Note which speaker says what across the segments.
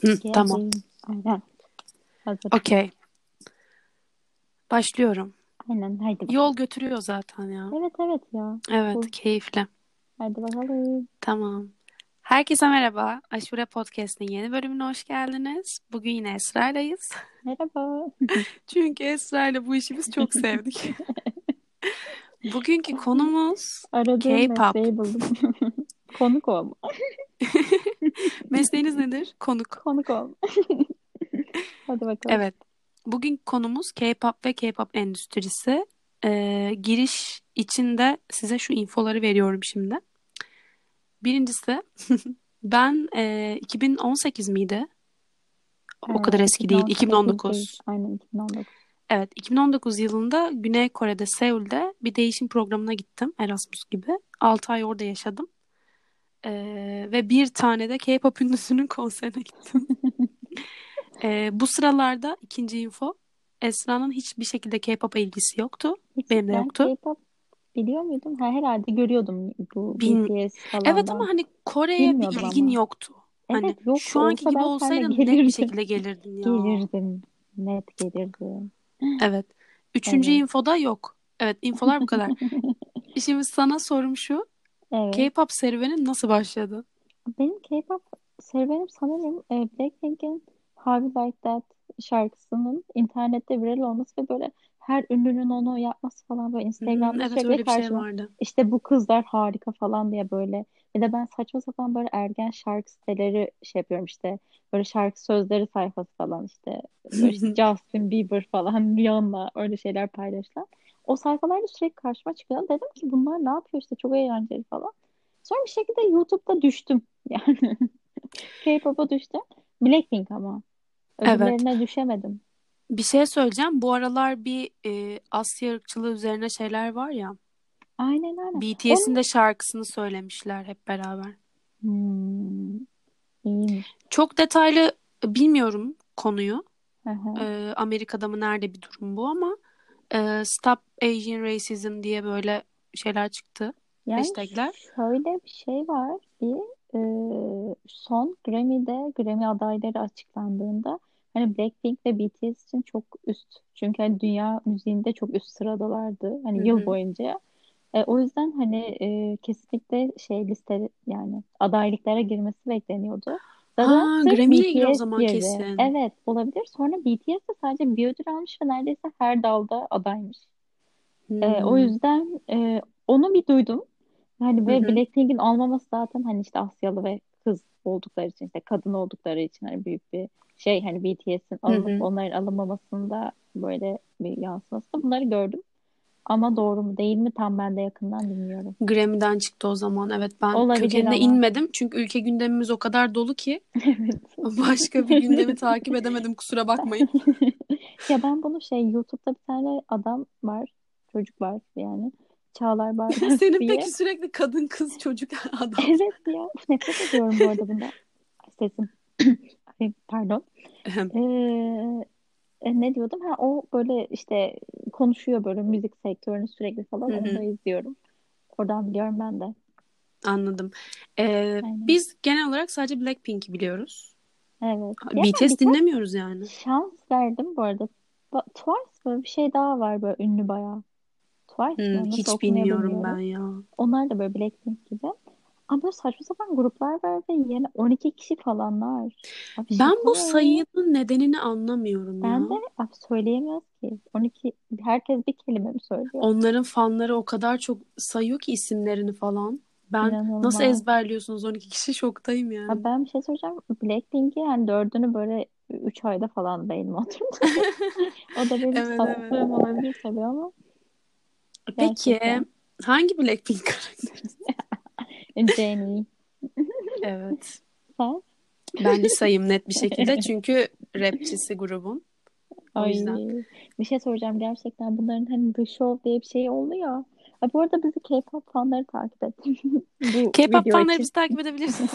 Speaker 1: Hı,
Speaker 2: Geleceğim.
Speaker 1: tamam.
Speaker 2: Aynen. Hazır.
Speaker 1: Okey. Başlıyorum.
Speaker 2: Aynen. Haydi bakalım.
Speaker 1: Yol götürüyor zaten ya.
Speaker 2: Evet evet ya.
Speaker 1: Evet, keyifli.
Speaker 2: Haydi bakalım.
Speaker 1: Tamam. Herkese merhaba. Aşure Podcast'in yeni bölümüne hoş geldiniz. Bugün yine Esra'ylayız.
Speaker 2: Merhaba.
Speaker 1: Çünkü Esra'yla bu işi biz çok sevdik. Bugünkü konumuz
Speaker 2: Aradığım
Speaker 1: K-pop.
Speaker 2: mesleği buldum. Konuk olma.
Speaker 1: mesleğiniz nedir? Konuk.
Speaker 2: Konuk olma. Hadi bakalım.
Speaker 1: Evet. Bugünkü konumuz K-pop ve K-pop endüstrisi. Ee, giriş içinde size şu infoları veriyorum şimdi. Birincisi ben e, 2018 miydi? O
Speaker 2: Ee,
Speaker 1: kadar eski değil.
Speaker 2: 2018
Speaker 1: 2019.
Speaker 2: değil. Aynen 2019.
Speaker 1: Evet, 2019 yılında Güney Kore'de Seul'de bir değişim programına gittim Erasmus gibi. 6 ay orada yaşadım. Ee, ve bir tane de K-pop ünlüsünün konserine gittim. Ee, bu sıralarda ikinci info. Esra'nın hiçbir şekilde K-pop'a ilgisi yoktu.
Speaker 2: Hiç
Speaker 1: Benim de
Speaker 2: ben
Speaker 1: yoktu.
Speaker 2: K-pop biliyor muydum? Ha, herhalde görüyordum bu
Speaker 1: Bin-
Speaker 2: BTS falan.
Speaker 1: Evet ama hani Kore'ye bir
Speaker 2: Bilmiyordum
Speaker 1: ilgin
Speaker 2: ama.
Speaker 1: yoktu. Hani
Speaker 2: Evet, yok
Speaker 1: şu anki
Speaker 2: olsa
Speaker 1: gibi
Speaker 2: ben
Speaker 1: olsaydın
Speaker 2: seninle
Speaker 1: net bir
Speaker 2: gelirdim.
Speaker 1: şekilde gelirdin ya.
Speaker 2: Gelirdim. Net gelirdim.
Speaker 1: Evet. Üçüncü
Speaker 2: Evet.
Speaker 1: infoda yok. Evet, infolar bu kadar. Şimdi sana sorum şu.
Speaker 2: Evet.
Speaker 1: K-pop serüvenin nasıl başladı?
Speaker 2: Benim K-pop serüvenim sanırım e, Blackpink'in How You Like That şarkısının internette viral olması ve böyle her ünlünün onu yapması falan böyle
Speaker 1: Hmm,
Speaker 2: Instagram'da
Speaker 1: evet
Speaker 2: sürekli
Speaker 1: öyle bir şey
Speaker 2: karşıma
Speaker 1: vardı.
Speaker 2: işte bu kızlar harika falan diye böyle bir de ben saçma sapan böyle ergen şarkı siteleri şey yapıyorum işte böyle şarkı sözleri sayfası falan işte böyle işte Justin Bieber falan Rihanna öyle şeyler paylaşılan o sayfalarda sürekli karşıma çıkıyor dedim ki bunlar ne yapıyor işte çok eğlenceli falan sonra bir şekilde YouTube'da düştüm yani K-pop'a düştüm Blackpink ama
Speaker 1: Evet.
Speaker 2: öbürlerine düşemedim
Speaker 1: Bir şey söyleyeceğim. Bu aralar bir e, Asya ırkçılığı üzerine şeyler var ya.
Speaker 2: aynen aynen
Speaker 1: BTS'in de şarkısını söylemişler hep beraber.
Speaker 2: hmm, iyiymiş
Speaker 1: Çok detaylı e, bilmiyorum konuyu.
Speaker 2: Hı hı.
Speaker 1: E, Amerika'da mı nerede bir durum bu ama e, Stop Asian Racism diye böyle şeyler çıktı.
Speaker 2: Yani
Speaker 1: Hashtagler.
Speaker 2: şöyle bir şey var. Bir e, son Grammy'de Grammy adayları açıklandığında hani Blackpink ve BTS için çok üst. Çünkü hani dünya müziğinde çok üst sıradalardı. Hani
Speaker 1: Hı
Speaker 2: yıl
Speaker 1: hı.
Speaker 2: boyunca. E, o yüzden hani e, kesinlikle şey liste yani adaylıklara girmesi bekleniyordu. Zaten
Speaker 1: Ha,
Speaker 2: sırf
Speaker 1: Grammy ile ilgili o
Speaker 2: BTS
Speaker 1: zaman
Speaker 2: girdi.
Speaker 1: kesin.
Speaker 2: Evet olabilir. Sonra BTS de sadece bir ödül almış ve neredeyse her dalda adaymış. Ee, o
Speaker 1: Hmm.
Speaker 2: yüzden e, onu bir duydum. Hani
Speaker 1: Hı
Speaker 2: ve
Speaker 1: hı.
Speaker 2: Blackpink'in almaması zaten hani işte Asyalı ve kız oldukları için işte kadın oldukları için hani büyük bir şey hani BTS'in
Speaker 1: Hı
Speaker 2: alınıp
Speaker 1: hı.
Speaker 2: onların alınmamasında böyle bir yansıması. Bunları gördüm. Ama doğru mu değil mi tam ben de yakından bilmiyorum.
Speaker 1: Grammy'den çıktı o zaman. Evet ben
Speaker 2: Olabilir
Speaker 1: kökenine
Speaker 2: ama.
Speaker 1: inmedim. Çünkü ülke gündemimiz o kadar dolu ki
Speaker 2: Evet.
Speaker 1: başka bir gündemi takip edemedim kusura bakmayın.
Speaker 2: Ya ben bunu şey YouTube'da bir tane adam var. Çocuk var yani. Çağlar Barlas
Speaker 1: Senin
Speaker 2: diye.
Speaker 1: peki sürekli kadın kız çocuk adam.
Speaker 2: Evet ya. Uf, nefret ediyorum bu arada bundan. Ay, Sesim. Ay, Pardon. Ee, e, ne diyordum? Ha, o böyle işte konuşuyor böyle müzik sektörünü sürekli falan.
Speaker 1: Hı hı.
Speaker 2: Onu da izliyorum. Oradan biliyorum ben de.
Speaker 1: Anladım. Ee,
Speaker 2: Aynen.
Speaker 1: biz genel olarak sadece Blackpink'i biliyoruz.
Speaker 2: Evet. Ya ben
Speaker 1: BTS
Speaker 2: bir tane
Speaker 1: dinlemiyoruz yani.
Speaker 2: şans verdim bu arada. Ba- Twice mı? Bir şey daha var böyle ünlü bayağı. Twice
Speaker 1: Hmm,
Speaker 2: mı? Nasıl
Speaker 1: hiç
Speaker 2: okunuyor
Speaker 1: bilmiyorum
Speaker 2: bilmiyorum.
Speaker 1: ben ya.
Speaker 2: Onlar da böyle Blackpink gibi. Ama böyle saçma sapan gruplar var ve yani 12 kişi falanlar. Abi
Speaker 1: Ben
Speaker 2: şaka
Speaker 1: bu
Speaker 2: ya.
Speaker 1: sayının nedenini anlamıyorum ya.
Speaker 2: Ben de abi söyleyemez ki. 12 herkes bir kelime mi söylüyor?
Speaker 1: Onların fanları o kadar çok sayıyor ki isimlerini falan. Ben nasıl
Speaker 2: İnanılmaz.
Speaker 1: ezberliyorsunuz 12 kişi şoktayım yani.
Speaker 2: Ya ben bir şey söyleyeceğim. Blackpink'i yani dördünü böyle 3 ayda falan benim hatırladım. O da benim
Speaker 1: Evet evet.
Speaker 2: salaklığım olabilir tabii ama
Speaker 1: Peki
Speaker 2: gerçekten.
Speaker 1: hangi Blackpink karakteri?
Speaker 2: Jennie.
Speaker 1: Evet.
Speaker 2: Sen?
Speaker 1: Ben lisayım net bir şekilde çünkü rapçisi grubun. O
Speaker 2: Ay
Speaker 1: yüzden.
Speaker 2: bir şey soracağım gerçekten bunların hani The Show diye bir şey oldu ya. Ay, bu arada bizi K-pop fanları takip etti bu
Speaker 1: K-pop
Speaker 2: video
Speaker 1: fanları
Speaker 2: için.
Speaker 1: bizi takip edebilirsiniz.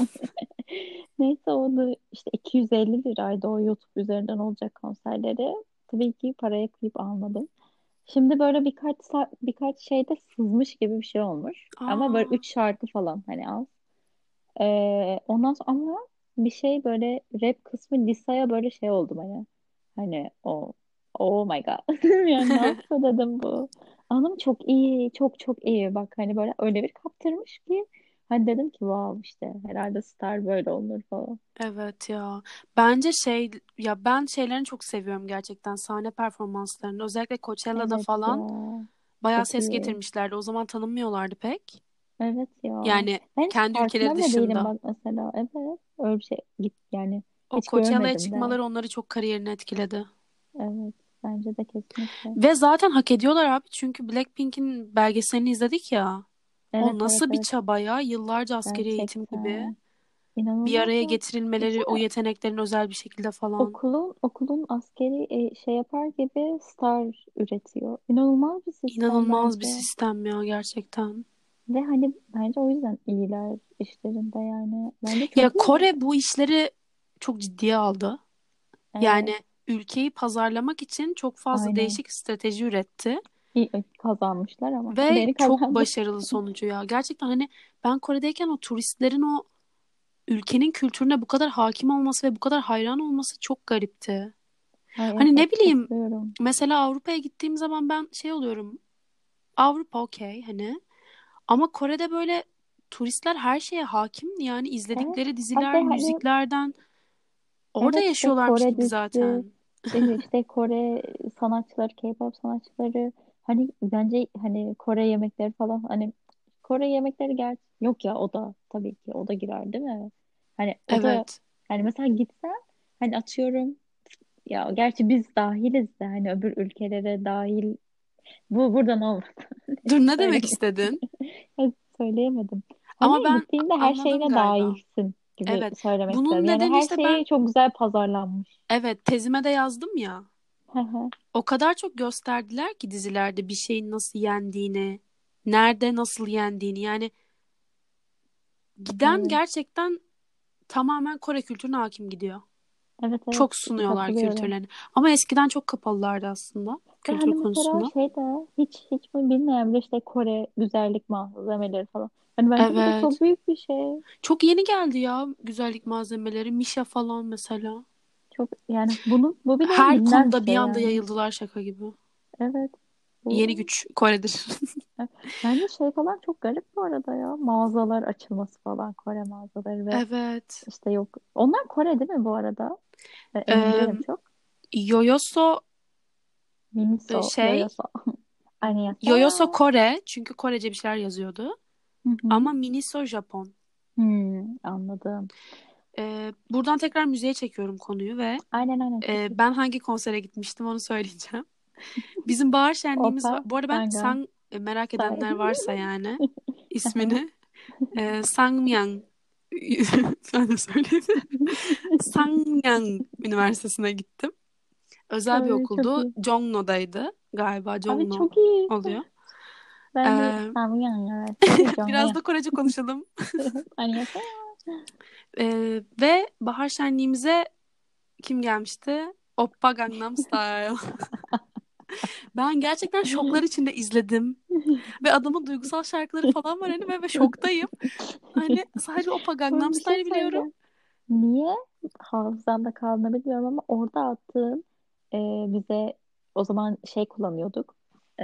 Speaker 2: Neyse o da işte 250 liraydı o YouTube üzerinden olacak konserleri. Tabii ki paraya kıyıp almadım. Şimdi böyle birkaç sa- birkaç şeyde sızmış gibi bir şey olmuş. Ama böyle
Speaker 1: Aa,
Speaker 2: üç şarkı falan hani az. Ee, ondan sonra ama bir şey böyle rap kısmı Lisa'ya böyle şey oldu bana. Hani o oh my god. yani ne yaptı dedim bu. Anım çok iyi, çok çok iyi. Bak hani böyle öyle bir kaptırmış ki hani dedim ki wow işte herhalde star böyle olur falan.
Speaker 1: Evet ya. Bence şey ya ben şeylerini çok seviyorum gerçekten sahne performanslarını. Özellikle Coachella'da
Speaker 2: Evet
Speaker 1: falan
Speaker 2: ya.
Speaker 1: bayağı
Speaker 2: Çok
Speaker 1: ses
Speaker 2: iyi.
Speaker 1: getirmişlerdi. O zaman tanınmıyorlardı pek.
Speaker 2: Evet ya.
Speaker 1: Yani
Speaker 2: Ben hiç
Speaker 1: kendi ülkeleri
Speaker 2: farkında bile değilim
Speaker 1: dışında.
Speaker 2: bak mesela. Evet. Öyle bir şey git yani
Speaker 1: O
Speaker 2: hiç
Speaker 1: Coachella'ya
Speaker 2: görmedim de.
Speaker 1: çıkmaları onları çok kariyerini etkiledi.
Speaker 2: Evet. Bence de kesinlikle.
Speaker 1: Ve zaten hak ediyorlar abi. Çünkü Blackpink'in belgeselini izledik ya.
Speaker 2: Evet
Speaker 1: O
Speaker 2: evet
Speaker 1: nasıl bir
Speaker 2: evet.
Speaker 1: çaba ya? Yıllarca askeri eğitim gibi.
Speaker 2: Gerçekten.
Speaker 1: Bir
Speaker 2: İnanılmaz
Speaker 1: araya
Speaker 2: ya.
Speaker 1: getirilmeleri, o
Speaker 2: Düşünsene
Speaker 1: yeteneklerin özel bir şekilde falan.
Speaker 2: okulun okulun askeri e, şey yapar gibi star üretiyor. İnanılmaz bir sistem
Speaker 1: İnanılmaz bir
Speaker 2: bence.
Speaker 1: sistem ya gerçekten.
Speaker 2: Ve hani bence o yüzden iyiler işlerinde yani. Bence
Speaker 1: Ya
Speaker 2: çok iyi.
Speaker 1: Kore bu işleri çok ciddiye aldı.
Speaker 2: Evet.
Speaker 1: Yani ülkeyi pazarlamak için çok fazla
Speaker 2: Aynen.
Speaker 1: değişik strateji üretti
Speaker 2: İyi e, kazanmışlar ama.
Speaker 1: ve
Speaker 2: Beni
Speaker 1: çok
Speaker 2: kazandı.
Speaker 1: başarılı sonucu ya. Gerçekten hani ben Kore'deyken o turistlerin o ülkenin kültürüne bu kadar hakim olması ve bu kadar hayran olması çok garipti.
Speaker 2: Ay
Speaker 1: Hani
Speaker 2: evet
Speaker 1: ne bileyim
Speaker 2: katılıyorum.
Speaker 1: mesela Avrupa'ya gittiğim zaman ben şey oluyorum. Avrupa okey hani ama Kore'de böyle turistler her şeye hakim yani
Speaker 2: Evet.
Speaker 1: izledikleri
Speaker 2: Hatta
Speaker 1: diziler,
Speaker 2: hani
Speaker 1: müziklerden orada
Speaker 2: evet işte
Speaker 1: yaşıyorlarmış
Speaker 2: Kore
Speaker 1: gibi
Speaker 2: dizisi,
Speaker 1: zaten.
Speaker 2: e, işte Kore sanatçıları, K-pop sanatçıları hani bence hani Kore yemekleri falan hani Kore yemekleri gel yok ya o da tabii ki o da girer değil mi? Hani o da
Speaker 1: Evet.
Speaker 2: yani mesela gitsen hani atıyorum ya gerçi biz dahiliz de hani öbür ülkelere dahil bu buradan olmadı.
Speaker 1: Dur ne demek
Speaker 2: Söyleyemedim.
Speaker 1: istedin?
Speaker 2: Söyleyemedim.
Speaker 1: Ama
Speaker 2: Hani
Speaker 1: ben
Speaker 2: gittiğinde her
Speaker 1: anladım
Speaker 2: şeyine
Speaker 1: galiba.
Speaker 2: dahilsin gibi
Speaker 1: Evet.
Speaker 2: söylemek istedim.
Speaker 1: Bunun
Speaker 2: Yani
Speaker 1: nedeni
Speaker 2: her
Speaker 1: işte ben
Speaker 2: şey çok güzel pazarlanmış.
Speaker 1: evet tezime de yazdım ya.
Speaker 2: Hı hı.
Speaker 1: O kadar çok gösterdiler ki dizilerde bir şeyin nasıl yendiğini, nerede nasıl yendiğini. Yani giden
Speaker 2: Evet,
Speaker 1: gerçekten tamamen Kore kültürüne hakim gidiyor.
Speaker 2: evet, evet.
Speaker 1: Çok sunuyorlar
Speaker 2: Katılıyorum.
Speaker 1: kültürlerini. Ama eskiden çok kapalılardı aslında
Speaker 2: Ve
Speaker 1: kültür
Speaker 2: hani mesela
Speaker 1: konusunda.
Speaker 2: şey de hiç hiç bunu bilmeyen bile işte Kore güzellik malzemeleri falan. Hani bence bu da
Speaker 1: Evet.
Speaker 2: çok büyük bir şey.
Speaker 1: Çok yeni geldi ya güzellik malzemeleri. Misha falan mesela.
Speaker 2: Çok yani bunu bu bile
Speaker 1: Her
Speaker 2: bilinen bir
Speaker 1: konuda bir
Speaker 2: şey
Speaker 1: anda
Speaker 2: yani.
Speaker 1: yayıldılar şaka gibi.
Speaker 2: Evet.
Speaker 1: Yeni
Speaker 2: Bu
Speaker 1: güç Kore'dir.
Speaker 2: evet. bence şey falan çok garip bu arada ya. Mağazalar açılması falan Kore mağazaları ve
Speaker 1: Evet.
Speaker 2: işte yok. Onlar Kore değil mi bu arada? Ben emin
Speaker 1: Ee,
Speaker 2: değilim çok.
Speaker 1: Yoyoso e,
Speaker 2: Miniso,
Speaker 1: şey,
Speaker 2: Yoyoso. Annyeonghaseyo.
Speaker 1: Yoyoso Kore çünkü Korece bir şeyler yazıyordu.
Speaker 2: Hı hı.
Speaker 1: Ama Miniso Japon.
Speaker 2: Hmm, anladım.
Speaker 1: Ee, buradan tekrar müziğe çekiyorum konuyu ve
Speaker 2: Aynen aynen çok
Speaker 1: e,
Speaker 2: iyi.
Speaker 1: ben hangi konsere gitmiştim onu söyleyeceğim. Bizim bahar şenliğimiz var.
Speaker 2: Opa,
Speaker 1: Bu arada ben
Speaker 2: Sanga,
Speaker 1: Sang e, merak
Speaker 2: Say.
Speaker 1: edenler varsa yani
Speaker 2: Aha.
Speaker 1: ismini e, Sangmyang ben de söyledim. Sangmyang Üniversitesi'ne gittim. özel bir
Speaker 2: Ay, çok
Speaker 1: okuldu.
Speaker 2: iyi.
Speaker 1: Jongno'daydı galiba.
Speaker 2: Abi
Speaker 1: Jongno
Speaker 2: çok iyi.
Speaker 1: oluyor.
Speaker 2: Ben de
Speaker 1: Ee,
Speaker 2: Samyang Hani Üniversitesi
Speaker 1: biraz
Speaker 2: Jongno'ya.
Speaker 1: da Korece konuşalım.
Speaker 2: Annyeonghaseyo.
Speaker 1: Ee, ve bahar şenliğimize kim gelmişti? Oppa Gangnam Style. Ben gerçekten şoklar içinde izledim. Ve adamın duygusal şarkıları falan var hani ve, ve şoktayım. Hani sadece Oppa Gangnam
Speaker 2: Bir şey
Speaker 1: Style'ı biliyorum.
Speaker 2: söyleyeceğim. Niye hafızamda kaldığını bilmiyorum ama orada attığın e, bize o zaman şey kullanıyorduk. E,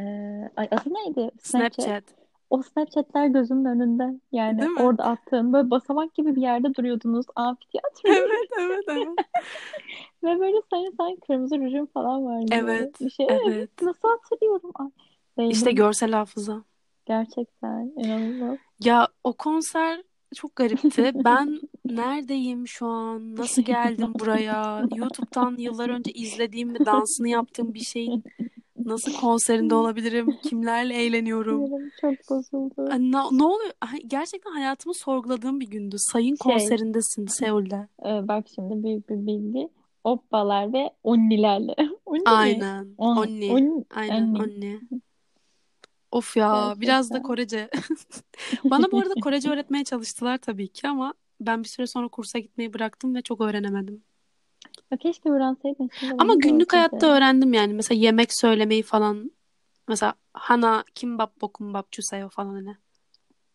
Speaker 2: ay adı neydi? Snapchat.
Speaker 1: Snapchat.
Speaker 2: O Snapchatler gözümün önünde. Yani
Speaker 1: Değil mi?
Speaker 2: orada attığın böyle basamak gibi bir yerde duruyordunuz amfiteyatroda
Speaker 1: Evet, evet, evet.
Speaker 2: ve böyle senin sanki kırmızı rujun falan vardı böyle. Bir
Speaker 1: Evet,
Speaker 2: şey evet
Speaker 1: evet.
Speaker 2: nasıl hatırlıyorum? Ay,
Speaker 1: İşte
Speaker 2: beynim
Speaker 1: görsel hafıza.
Speaker 2: gerçekten inanılmaz.
Speaker 1: Ya o konser çok garipti. Ben neredeyim şu an? Nasıl geldim buraya? YouTube'dan yıllar önce izlediğim ve dansını yaptığım bir şeyin nasıl konserinde olabilirim? Kimlerle eğleniyorum?
Speaker 2: Sinirim çok bozuldu.
Speaker 1: Ay, na- Ne, oluyor? Ay, Gerçekten hayatımı sorguladığım bir gündü. Sayın
Speaker 2: Şey
Speaker 1: konserindesin Seul'de.
Speaker 2: Ee, bak şimdi büyük bir bilgi. Oppalar ve onnilerle. Onni mi?
Speaker 1: Aynen.
Speaker 2: On,
Speaker 1: Onni.
Speaker 2: on,
Speaker 1: Aynen
Speaker 2: anni.
Speaker 1: onni. Of ya biraz da
Speaker 2: Gerçekten.
Speaker 1: Korece. Bana bu arada Korece öğretmeye çalıştılar tabii ki ama ben bir süre sonra kursa gitmeyi bıraktım ve çok öğrenemedim.
Speaker 2: Ya keşke öğrenseydin. Şimdi
Speaker 1: Ama
Speaker 2: benim de
Speaker 1: günlük hayatta
Speaker 2: özledim.
Speaker 1: öğrendim yani. Mesela yemek söylemeyi falan. Mesela hana kimbap bokumbap chuseyo falan hani.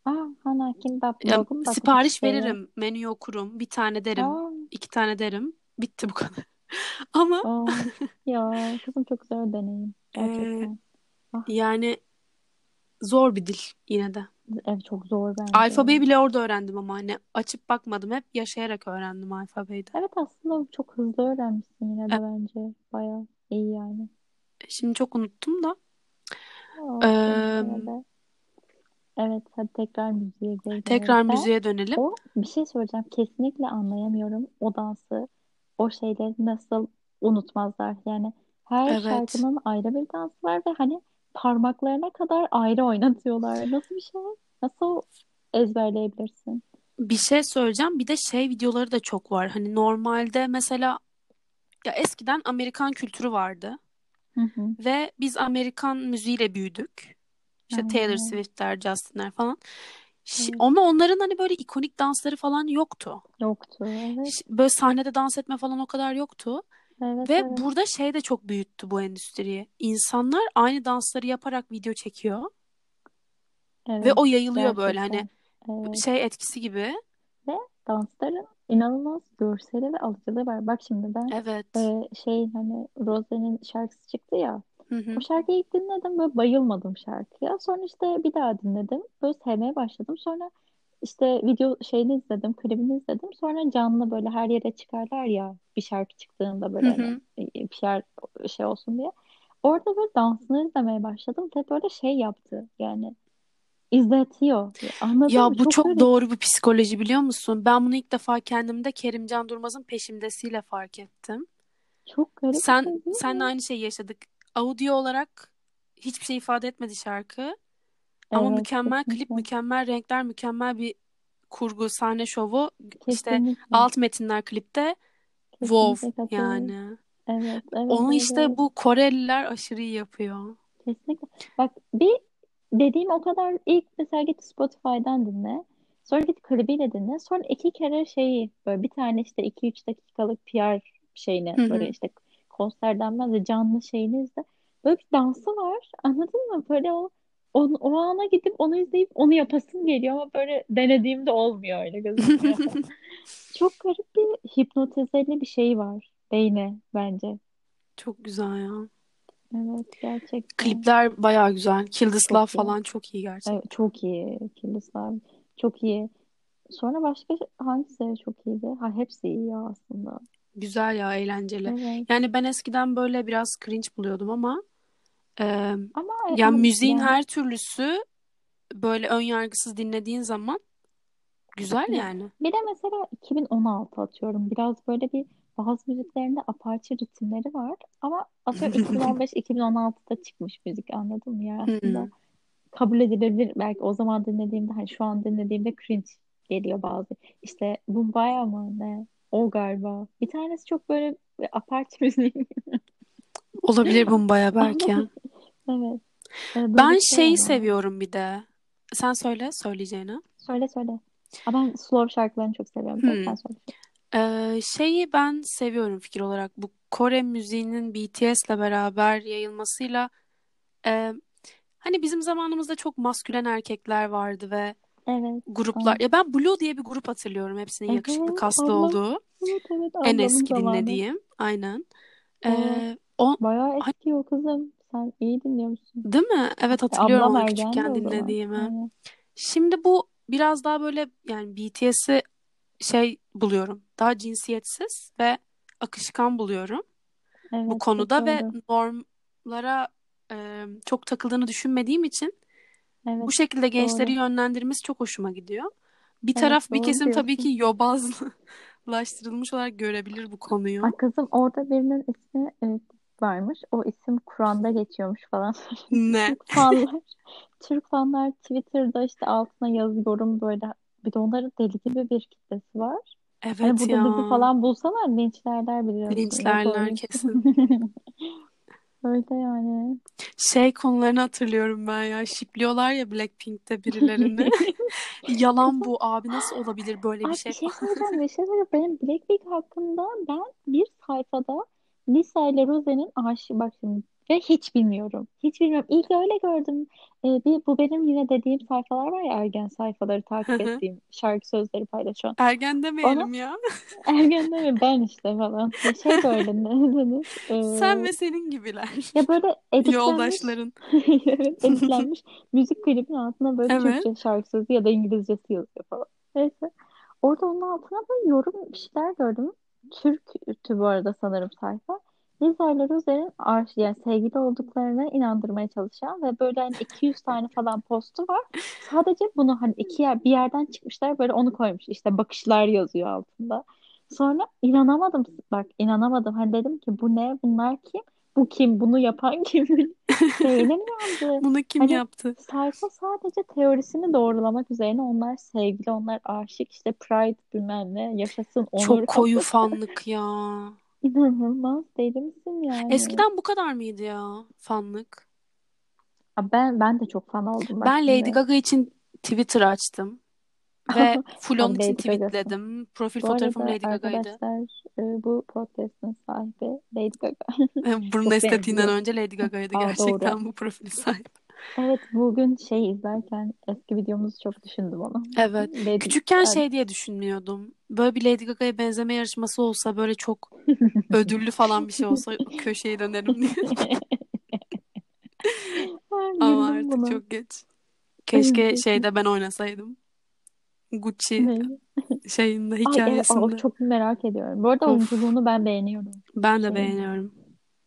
Speaker 2: Aa, hana kim bak
Speaker 1: Ya,
Speaker 2: bakım bakım
Speaker 1: sipariş
Speaker 2: çiçeği.
Speaker 1: veririm, menüyü okurum, bir tane
Speaker 2: Aa,
Speaker 1: derim. iki tane derim. Bitti bu kadar. Ama
Speaker 2: Aa, ya kızım çok güzel deneyim.
Speaker 1: Ee,
Speaker 2: Gerçekten.
Speaker 1: yani zor bir dil yine de.
Speaker 2: Evet çok zor bence.
Speaker 1: Alfabeyi bile orada öğrendim ama hani açıp bakmadım. Hep yaşayarak öğrendim alfabeyi de.
Speaker 2: Evet aslında çok hızlı öğrenmişsin yine
Speaker 1: E-
Speaker 2: de bence. Bayağı iyi yani.
Speaker 1: Şimdi çok unuttum da.
Speaker 2: Aa,
Speaker 1: Ee,
Speaker 2: yine de. Evet hadi tekrar müziğe geri
Speaker 1: Tekrar
Speaker 2: dönelim. Ben
Speaker 1: müziğe dönelim.
Speaker 2: O bir şey söyleyeceğim. Kesinlikle anlayamıyorum o dansı. O şeyleri nasıl unutmazlar. Yani her
Speaker 1: Evet.
Speaker 2: şarkının ayrı bir dansı var ve hani parmaklarına kadar ayrı oynatıyorlar. Nasıl bir şey? Nasıl ezberleyebilirsin?
Speaker 1: Bir şey söyleyeceğim. Bir de şey videoları da çok var. Hani normalde mesela ya eskiden Amerikan kültürü vardı
Speaker 2: Hı hı.
Speaker 1: ve biz Amerikan müziğiyle büyüdük. İşte
Speaker 2: Aynen.
Speaker 1: Taylor Swift'ler, Justin'ler falan. Şi-
Speaker 2: Evet.
Speaker 1: Ama onların hani böyle ikonik dansları falan yoktu.
Speaker 2: Yoktu. Evet,
Speaker 1: Şi- Böyle sahnede dans etme falan o kadar yoktu.
Speaker 2: evet,
Speaker 1: Ve
Speaker 2: evet.
Speaker 1: burada şey de çok büyüttü bu endüstriyi. İnsanlar aynı dansları yaparak video çekiyor
Speaker 2: Evet,
Speaker 1: ve o yayılıyor böyle hani
Speaker 2: gerçekten. Evet.
Speaker 1: şey etkisi gibi.
Speaker 2: Dansların inanılmaz görseli ve alıcılığı var. Bak şimdi ben
Speaker 1: Evet.
Speaker 2: e, şey hani Rose'nin şarkısı çıktı ya.
Speaker 1: Hı hı.
Speaker 2: O şarkıyı ilk dinledim ve bayılmadım şarkıya. Sonra işte bir daha dinledim. Böyle sevmeye başladım. Sonra işte video şeyini izledim, klibini izledim. Sonra canlı böyle her yere çıkarlar ya bir şarkı çıktığında böyle
Speaker 1: Hı
Speaker 2: hani
Speaker 1: hı.
Speaker 2: e, bir şarkı şey olsun diye. Orada böyle dansını izlemeye başladım ve böyle şey yaptı yani izletiyor. Anladın mı?
Speaker 1: Ya bu
Speaker 2: Çok
Speaker 1: çok
Speaker 2: böyle
Speaker 1: doğru bir psikoloji biliyor musun? Ben bunu ilk defa kendimde Kerimcan Durmaz'ın peşimdesiyle fark ettim.
Speaker 2: çok garip bir şey
Speaker 1: Sen
Speaker 2: değil
Speaker 1: senle
Speaker 2: mi?
Speaker 1: aynı şeyi yaşadık. Audio olarak hiçbir şey ifade etmedi şarkı ama
Speaker 2: Evet
Speaker 1: mükemmel klip,
Speaker 2: kesinlikle.
Speaker 1: mükemmel renkler, mükemmel bir kurgu, sahne şovu. İşte
Speaker 2: Kesinlikle.
Speaker 1: alt metinler klipte wow
Speaker 2: Kesinlikle katılıyorum.
Speaker 1: yani.
Speaker 2: Evet, evet,
Speaker 1: Onu
Speaker 2: evet,
Speaker 1: işte
Speaker 2: evet.
Speaker 1: bu Koreliler aşırı iyi yapıyor.
Speaker 2: Kesinlikle. Bak bir dediğim o kadar ilk mesela git Spotify'dan dinle. Sonra git klibiyle dinle. Sonra iki kere şeyi böyle bir tane işte 2-3 dakikalık PR şeyini
Speaker 1: Hı
Speaker 2: böyle
Speaker 1: hı.
Speaker 2: işte konser denmez de canlı şeyini izle. Böyle bir dansı var. Anladın mı? Böyle o on- o ana gidip onu izleyip onu yapasım geliyor ama böyle denediğimde olmuyor öyle gözükmüyor. Çok garip bir hipnotizeli bir şey var beyne bence.
Speaker 1: Çok güzel ya.
Speaker 2: Evet gerçekten
Speaker 1: Klipler bayağı güzel. Kill This Love
Speaker 2: çok iyi.
Speaker 1: falan çok iyi
Speaker 2: Evet,
Speaker 1: gerçekten.
Speaker 2: çok iyi Kilisler. Çok iyi. Sonra başka hangisi çok iyiydi? Ha hepsi iyi ya aslında.
Speaker 1: Güzel ya, eğlenceli.
Speaker 2: Evet.
Speaker 1: Yani ben eskiden böyle biraz cringe buluyordum ama e,
Speaker 2: Ama e,
Speaker 1: yani
Speaker 2: an-
Speaker 1: müziğin
Speaker 2: yani
Speaker 1: her türlüsü böyle ön yargısız dinlediğin zaman güzel
Speaker 2: ya
Speaker 1: yani.
Speaker 2: bir de mesela 2016 atıyorum. Biraz böyle bir bazı müziklerinde apaçı ritimleri var. Ama atıyorum 2015-2016'da çıkmış müzik anladın mı? Yani aslında
Speaker 1: Hmm.
Speaker 2: kabul edilebilir. Belki o zaman dinlediğimde hani şu an dinlediğimde cringe geliyor bazı. İşte Bumbaya mı ne? O galiba. Bir tanesi çok böyle bir apaçı müziği.
Speaker 1: Olabilir bunun bayağı belki.
Speaker 2: Ama
Speaker 1: ya.
Speaker 2: evet. e, Böyle
Speaker 1: Ben
Speaker 2: şey
Speaker 1: şeyi
Speaker 2: ama.
Speaker 1: seviyorum bir de. Sen söyle söyleyeceğini.
Speaker 2: Söyle söyle. Aa, ben slow şarkılarını çok seviyorum. Sen,
Speaker 1: Hmm.
Speaker 2: sen söyle.
Speaker 1: Ee, şeyi ben seviyorum fikir olarak. Bu Kore müziğinin BTS'le beraber yayılmasıyla e, hani bizim zamanımızda çok maskülen erkekler vardı ve
Speaker 2: Evet.
Speaker 1: gruplar.
Speaker 2: Ay.
Speaker 1: Ya ben Blue diye bir grup hatırlıyorum hepsinin yakışıklı
Speaker 2: Evet.
Speaker 1: kaslı
Speaker 2: Ablam.
Speaker 1: olduğu.
Speaker 2: Evet evet.
Speaker 1: En
Speaker 2: Ablamın
Speaker 1: eski
Speaker 2: zamanı.
Speaker 1: dinlediğim. Aynen.
Speaker 2: Evet.
Speaker 1: Ee, o,
Speaker 2: Bayağı
Speaker 1: ay,
Speaker 2: eski o kızım. Sen iyi dinliyormuşsun.
Speaker 1: değil mi? Evet
Speaker 2: E,
Speaker 1: hatırlıyorum
Speaker 2: ablam
Speaker 1: onu
Speaker 2: ergendi
Speaker 1: küçükken
Speaker 2: o zaman.
Speaker 1: dinlediğimi.
Speaker 2: Aynen.
Speaker 1: Şimdi bu biraz daha böyle yani BTS'i şey buluyorum. Daha cinsiyetsiz ve akışkan buluyorum. bu
Speaker 2: Evet. Çok
Speaker 1: konuda ve
Speaker 2: doğru.
Speaker 1: normlara e, çok takıldığını düşünmediğim için
Speaker 2: Evet.
Speaker 1: bu şey şekilde gençleri
Speaker 2: Doğru.
Speaker 1: yönlendirmesi çok hoşuma gidiyor. Bir
Speaker 2: Evet.
Speaker 1: taraf bir
Speaker 2: Doğru
Speaker 1: kesim tabii
Speaker 2: diyorsun.
Speaker 1: ki yobazlaştırılmış olarak görebilir bu
Speaker 2: Ay
Speaker 1: konuyu.
Speaker 2: kızım orada birinin ismi e, varmış. O isim Kur'an'da geçiyormuş falan.
Speaker 1: Ne?
Speaker 2: Türk fanlar, Türk fanlar Twitter'da işte altına yazı yorum böyle. Bir de onların deli gibi bir kitlesi var. Hani
Speaker 1: Evet
Speaker 2: burada bizi
Speaker 1: ya.
Speaker 2: falan bulsalar linçlerler biliyorsun. Yok
Speaker 1: Linçlerler
Speaker 2: öyle bir şey.
Speaker 1: kesin.
Speaker 2: Öyle yani.
Speaker 1: Şey konularını hatırlıyorum ben ya. Şipliyorlar ya Blackpink'te birilerini. Yalan
Speaker 2: Kızım
Speaker 1: bu abi nasıl olabilir böyle bir
Speaker 2: Ay bir
Speaker 1: şey
Speaker 2: şey
Speaker 1: falan.
Speaker 2: söyleyeceğim. Bir şey söyleyeceğim. Benim Blackpink hakkında ben bir sayfada Lisa ile Rose'nin aşık bak şimdi Ve hiç bilmiyorum. Hiç bilmiyorum. İlk öyle gördüm. Ee, bir, bu benim yine dediğim sayfalar var ya ergen sayfaları takip
Speaker 1: Hı hı.
Speaker 2: ettiğim şarkı sözleri paylaşan.
Speaker 1: Ergen demeyelim ya.
Speaker 2: Ergen değil mi? Ben işte falan. Şey böyle ne denir?
Speaker 1: Sen
Speaker 2: Ee,
Speaker 1: ve senin gibiler.
Speaker 2: ya böyle editlenmiş
Speaker 1: Yoldaşların.
Speaker 2: evet, editlenmiş müzik klibinin altına böyle
Speaker 1: Evet.
Speaker 2: Türkçe şarkı sözü ya da İngilizcesi yazıyor falan. Neyse. Orada onun altına böyle yorum bir şeyler gördüm. Türk'tü bu arada sanırım sayfa. Rizaylar Özer'in arş, yani sevgili olduklarına inandırmaya çalışan ve böyle hani 200 tane falan postu var. Sadece bunu hani iki yer, bir yerden çıkmışlar böyle onu koymuş. İşte bakışlar yazıyor altında. Sonra inanamadım bak inanamadım. Hani dedim ki bu ne bunlar kim? Bu kim? Bunu yapan kim? Beynim yandı.
Speaker 1: Bunu kim
Speaker 2: Hani
Speaker 1: yaptı?
Speaker 2: sayfa sadece teorisini doğrulamak üzerine onlar sevgili, onlar aşık, işte pride bilmem ne, yaşasın onur
Speaker 1: Çok koyu
Speaker 2: falan.
Speaker 1: fanlık ya.
Speaker 2: İnanılmaz deli misin yani?
Speaker 1: Eskiden bu kadar mıydı ya fanlık?
Speaker 2: Aa, Ben ben de çok fan oldum bak
Speaker 1: Ben Lady
Speaker 2: şimdi.
Speaker 1: Gaga için Twitter açtım. Ve full
Speaker 2: Sen
Speaker 1: onun için
Speaker 2: Lady Gaga'sın.
Speaker 1: tweetledim. Profil
Speaker 2: Bu
Speaker 1: fotoğrafım
Speaker 2: arada
Speaker 1: Lady Gaga'ydı.
Speaker 2: arkadaşlar e, bu podcast'ın sahibi Lady Gaga.
Speaker 1: Burun
Speaker 2: Yok benim
Speaker 1: estetiğinden
Speaker 2: yok.
Speaker 1: önce Lady Gaga'ydı
Speaker 2: Aa doğru.
Speaker 1: gerçekten bu profil sahibi.
Speaker 2: Evet bugün şey izlerken eski videomuzu çok düşündüm onu.
Speaker 1: Evet.
Speaker 2: Lady
Speaker 1: Küçükken
Speaker 2: Ay,
Speaker 1: şey diye düşünmüyordum. Böyle bir Lady Gaga'ya benzeme yarışması olsa böyle çok ödüllü falan bir şey olsa köşeyi dönerim diye.
Speaker 2: Ay,
Speaker 1: Ama
Speaker 2: güldüm
Speaker 1: artık
Speaker 2: buna.
Speaker 1: çok geç. Keşke
Speaker 2: Üzücü.
Speaker 1: şeyde ben oynasaydım. Gucci
Speaker 2: Ne?
Speaker 1: şeyinde
Speaker 2: Ay evet o
Speaker 1: hikayesinde.
Speaker 2: çok merak ediyorum. Bu arada
Speaker 1: Of
Speaker 2: oyunculuğunu ben beğeniyorum.
Speaker 1: ben de
Speaker 2: Şeyini.
Speaker 1: beğeniyorum.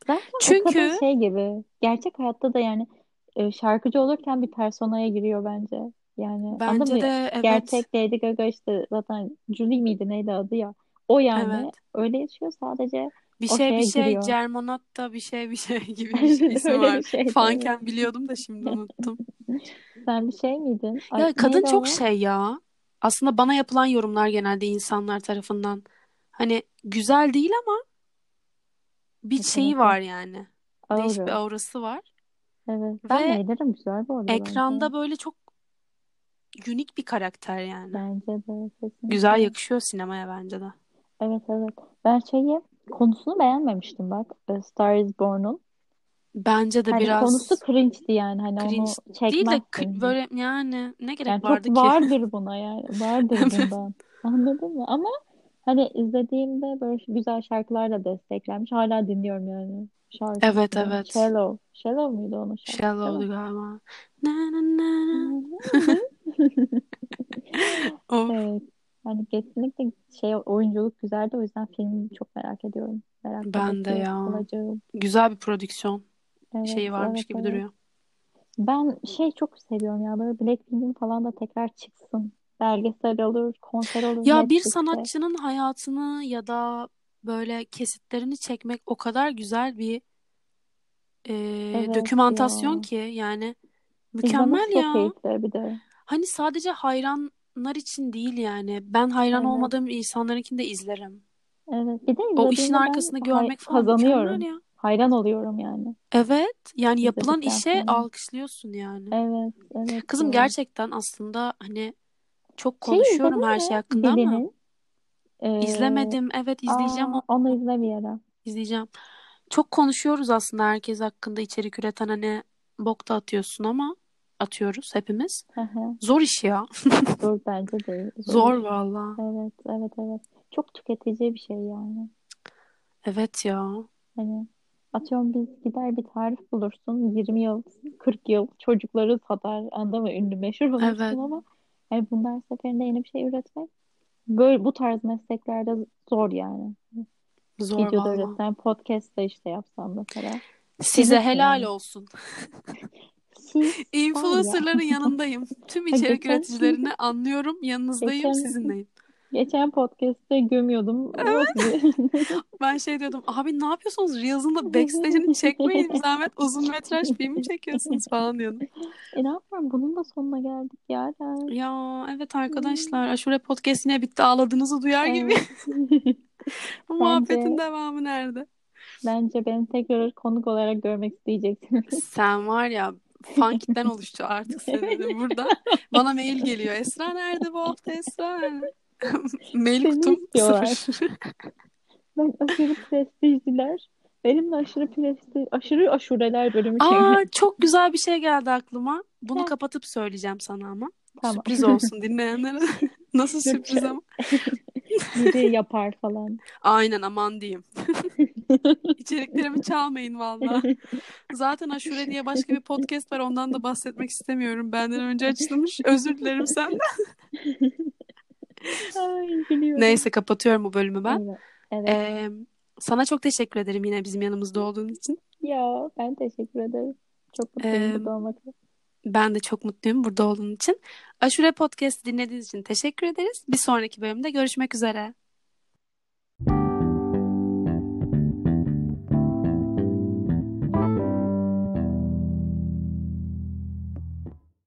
Speaker 2: Zaten o kadın
Speaker 1: Çünkü
Speaker 2: şey gibi. Gerçek hayatta da yani e, şarkıcı olurken bir personaya giriyor bence. Yani anladın
Speaker 1: bence
Speaker 2: mı?
Speaker 1: de evet
Speaker 2: Gerçek Lady Gaga işte zaten Julie miydi neydi adı ya. O yani
Speaker 1: evet.
Speaker 2: öyle yaşıyor sadece
Speaker 1: Bir
Speaker 2: o
Speaker 1: şey bir
Speaker 2: şeye
Speaker 1: şey
Speaker 2: giriyor.
Speaker 1: Cermonatta bir şey bir şey gibi bir şey
Speaker 2: Evet,
Speaker 1: ismi
Speaker 2: Öyle bir
Speaker 1: var.
Speaker 2: şeydi evet.
Speaker 1: Fanken biliyordum da şimdi unuttum.
Speaker 2: Sen bir şey miydin? Ay
Speaker 1: Ya kadın
Speaker 2: neydi
Speaker 1: çok
Speaker 2: o?
Speaker 1: şey ya. Aslında bana yapılan yorumlar genelde insanlar tarafından. Hani güzel değil ama bir şeyi
Speaker 2: Yetenekli.
Speaker 1: var yani. Değişik bir
Speaker 2: Aura.
Speaker 1: aurası var.
Speaker 2: Evet. Ben
Speaker 1: Ve
Speaker 2: Neyler'im güzel bu arada bence.
Speaker 1: ekranda böyle çok unik bir karakter yani.
Speaker 2: Bence de
Speaker 1: Güzel
Speaker 2: kesinlikle.
Speaker 1: yakışıyor sinemaya bence de.
Speaker 2: Evet evet. Ben şeyi konusunu beğenmemiştim bak. E, Star is Born'un.
Speaker 1: Bence de
Speaker 2: Hani konusu
Speaker 1: biraz
Speaker 2: cringe'di yani. Hani
Speaker 1: cringe
Speaker 2: onu
Speaker 1: değil de k-
Speaker 2: çekmezsin.
Speaker 1: böyle yani ne
Speaker 2: Yani
Speaker 1: gerek
Speaker 2: çok
Speaker 1: vardı ki?
Speaker 2: vardır buna yani. Vardır bundan. Anladın mı? Ama hani izlediğimde böyle güzel şarkılar da desteklenmiş. Hala dinliyorum yani
Speaker 1: Evet
Speaker 2: şarkısını.
Speaker 1: evet.
Speaker 2: Shallow. Shallow muydu onun şarkısı değil mi?
Speaker 1: Shallow'du Şey galiba. Na na na na. Of.
Speaker 2: Evet. Ee, Yani kesinlikle şey oyunculuk güzeldi. O yüzden filmi çok merak ediyorum. Merakla
Speaker 1: Ben de
Speaker 2: bekliyor
Speaker 1: ya.
Speaker 2: olacağım.
Speaker 1: Güzel bir prodüksiyon
Speaker 2: Evet,
Speaker 1: şeyi varmış
Speaker 2: evet,
Speaker 1: gibi
Speaker 2: evet.
Speaker 1: duruyor.
Speaker 2: Ben şey çok seviyorum ya böyle Blackpink'in falan da tekrar çıksın. Belgesel olur, konser olur
Speaker 1: Ya bir
Speaker 2: Netflix'te.
Speaker 1: sanatçının hayatını ya da böyle kesitlerini çekmek o kadar güzel bir e,
Speaker 2: Evet ya.
Speaker 1: dokümantasyon ki yani
Speaker 2: İzlemesi
Speaker 1: mükemmel
Speaker 2: çok
Speaker 1: ya.
Speaker 2: keyifli bir de.
Speaker 1: Hani sadece hayranlar için değil yani. Ben hayran
Speaker 2: Evet.
Speaker 1: olmadığım insanlarınkini de izlerim.
Speaker 2: Evet. Bir de
Speaker 1: O işin
Speaker 2: izlediğimde ben
Speaker 1: arkasını
Speaker 2: hay-
Speaker 1: görmek falan mükemmel
Speaker 2: kazanıyorum.
Speaker 1: ya.
Speaker 2: Hayran oluyorum yani
Speaker 1: Evet, yani yapılan
Speaker 2: izledikten
Speaker 1: işe
Speaker 2: sonra.
Speaker 1: alkışlıyorsun yani.
Speaker 2: Evet, evet
Speaker 1: Kızım
Speaker 2: ya.
Speaker 1: gerçekten aslında hani çok
Speaker 2: Şeyi
Speaker 1: konuşuyorum
Speaker 2: izledin
Speaker 1: her şey
Speaker 2: mi?
Speaker 1: hakkında ama
Speaker 2: Bilinin. Ee,
Speaker 1: izlemedim. Evet izleyeceğim
Speaker 2: aa,
Speaker 1: onu.
Speaker 2: onu izle bir ara.
Speaker 1: izleyeceğim. Çok konuşuyoruz aslında herkes hakkında içerik üreten hani bok da atıyorsun ama atıyoruz hepimiz.
Speaker 2: Hı hı.
Speaker 1: Zor iş ya.
Speaker 2: Zor bence değil. Zor
Speaker 1: Zor
Speaker 2: iş.
Speaker 1: valla.
Speaker 2: Evet, evet, evet. Çok tüketici bir şey yani.
Speaker 1: Evet ya.
Speaker 2: Hani atıyorum biz gider bir tarif bulursun. 20 yıl, 40 yıl çocukları satar. Anladın mı? Ünlü meşhur
Speaker 1: Evet.
Speaker 2: olursun ama yani bunlar seferinde yeni bir şey üretmek böyle bu tarz mesleklerde zor yani.
Speaker 1: Zor
Speaker 2: Videoda
Speaker 1: valla.
Speaker 2: üretsen, podcast'ta işte yapsan mesela.
Speaker 1: Size
Speaker 2: Temiz
Speaker 1: helal
Speaker 2: yani.
Speaker 1: olsun.
Speaker 2: Siz var ya.
Speaker 1: Influencerların yanındayım. Tüm içerik
Speaker 2: Geçen
Speaker 1: üreticilerini anlıyorum. Yanınızdayım,
Speaker 2: geçen
Speaker 1: sizinleyim.
Speaker 2: geçen podcast'te gömüyordum ama sizi.
Speaker 1: Ben şey diyordum. Abi ne yapıyorsunuz? Reels'ın da backstage'ini çekmeyin. Bir zahmet uzun metraj filmi çekiyorsunuz falan diyordum.
Speaker 2: E ne yapalım? Bunun da sonuna geldik ya. Yani.
Speaker 1: Ya evet arkadaşlar. Aşure Podcast yine bitti. Ağladığınızı duyar gibi.
Speaker 2: Evet.
Speaker 1: Bu muhabbetin
Speaker 2: Bence
Speaker 1: devamı nerede?
Speaker 2: bence beni tekrar konuk olarak görmek isteyeceksiniz.
Speaker 1: Sen var ya fan kitlen oluştu artık senin de burada. Bana mail geliyor. Esra nerede bu hafta Esra nerede? Mail
Speaker 2: Seni
Speaker 1: kutum
Speaker 2: istiyorlar.
Speaker 1: sıfır.
Speaker 2: Ben aşırı prestijliler Benimle aşırı prestij, aşırı aşureler bölümü
Speaker 1: Aa
Speaker 2: çekmek.
Speaker 1: çok güzel bir şey geldi aklıma. Bunu
Speaker 2: Ne?
Speaker 1: kapatıp söyleyeceğim sana ama.
Speaker 2: Tamam.
Speaker 1: Sürpriz olsun dinleyenlere. Nasıl
Speaker 2: Yok,
Speaker 1: sürpriz ama.
Speaker 2: Biri yapar falan.
Speaker 1: Aynen aman diyeyim. İçeriklerimi çalmayın valla. Zaten Aşure diye başka bir podcast var ondan da bahsetmek istemiyorum. Benden önce açılmış. Özür dilerim senden.
Speaker 2: Ay gülüyorum.
Speaker 1: Neyse kapatıyorum bu bölümü ben.
Speaker 2: Evet. evet.
Speaker 1: Ee, sana çok teşekkür ederim yine bizim yanımızda olduğun için.
Speaker 2: Ya ben teşekkür ederim. Çok mutluyum
Speaker 1: Ee,
Speaker 2: burada olmak için.
Speaker 1: Ben de çok mutluyum burada olduğun için. Aşure Podcast'ı dinlediğiniz için teşekkür ederiz. Bir sonraki bölümde görüşmek üzere.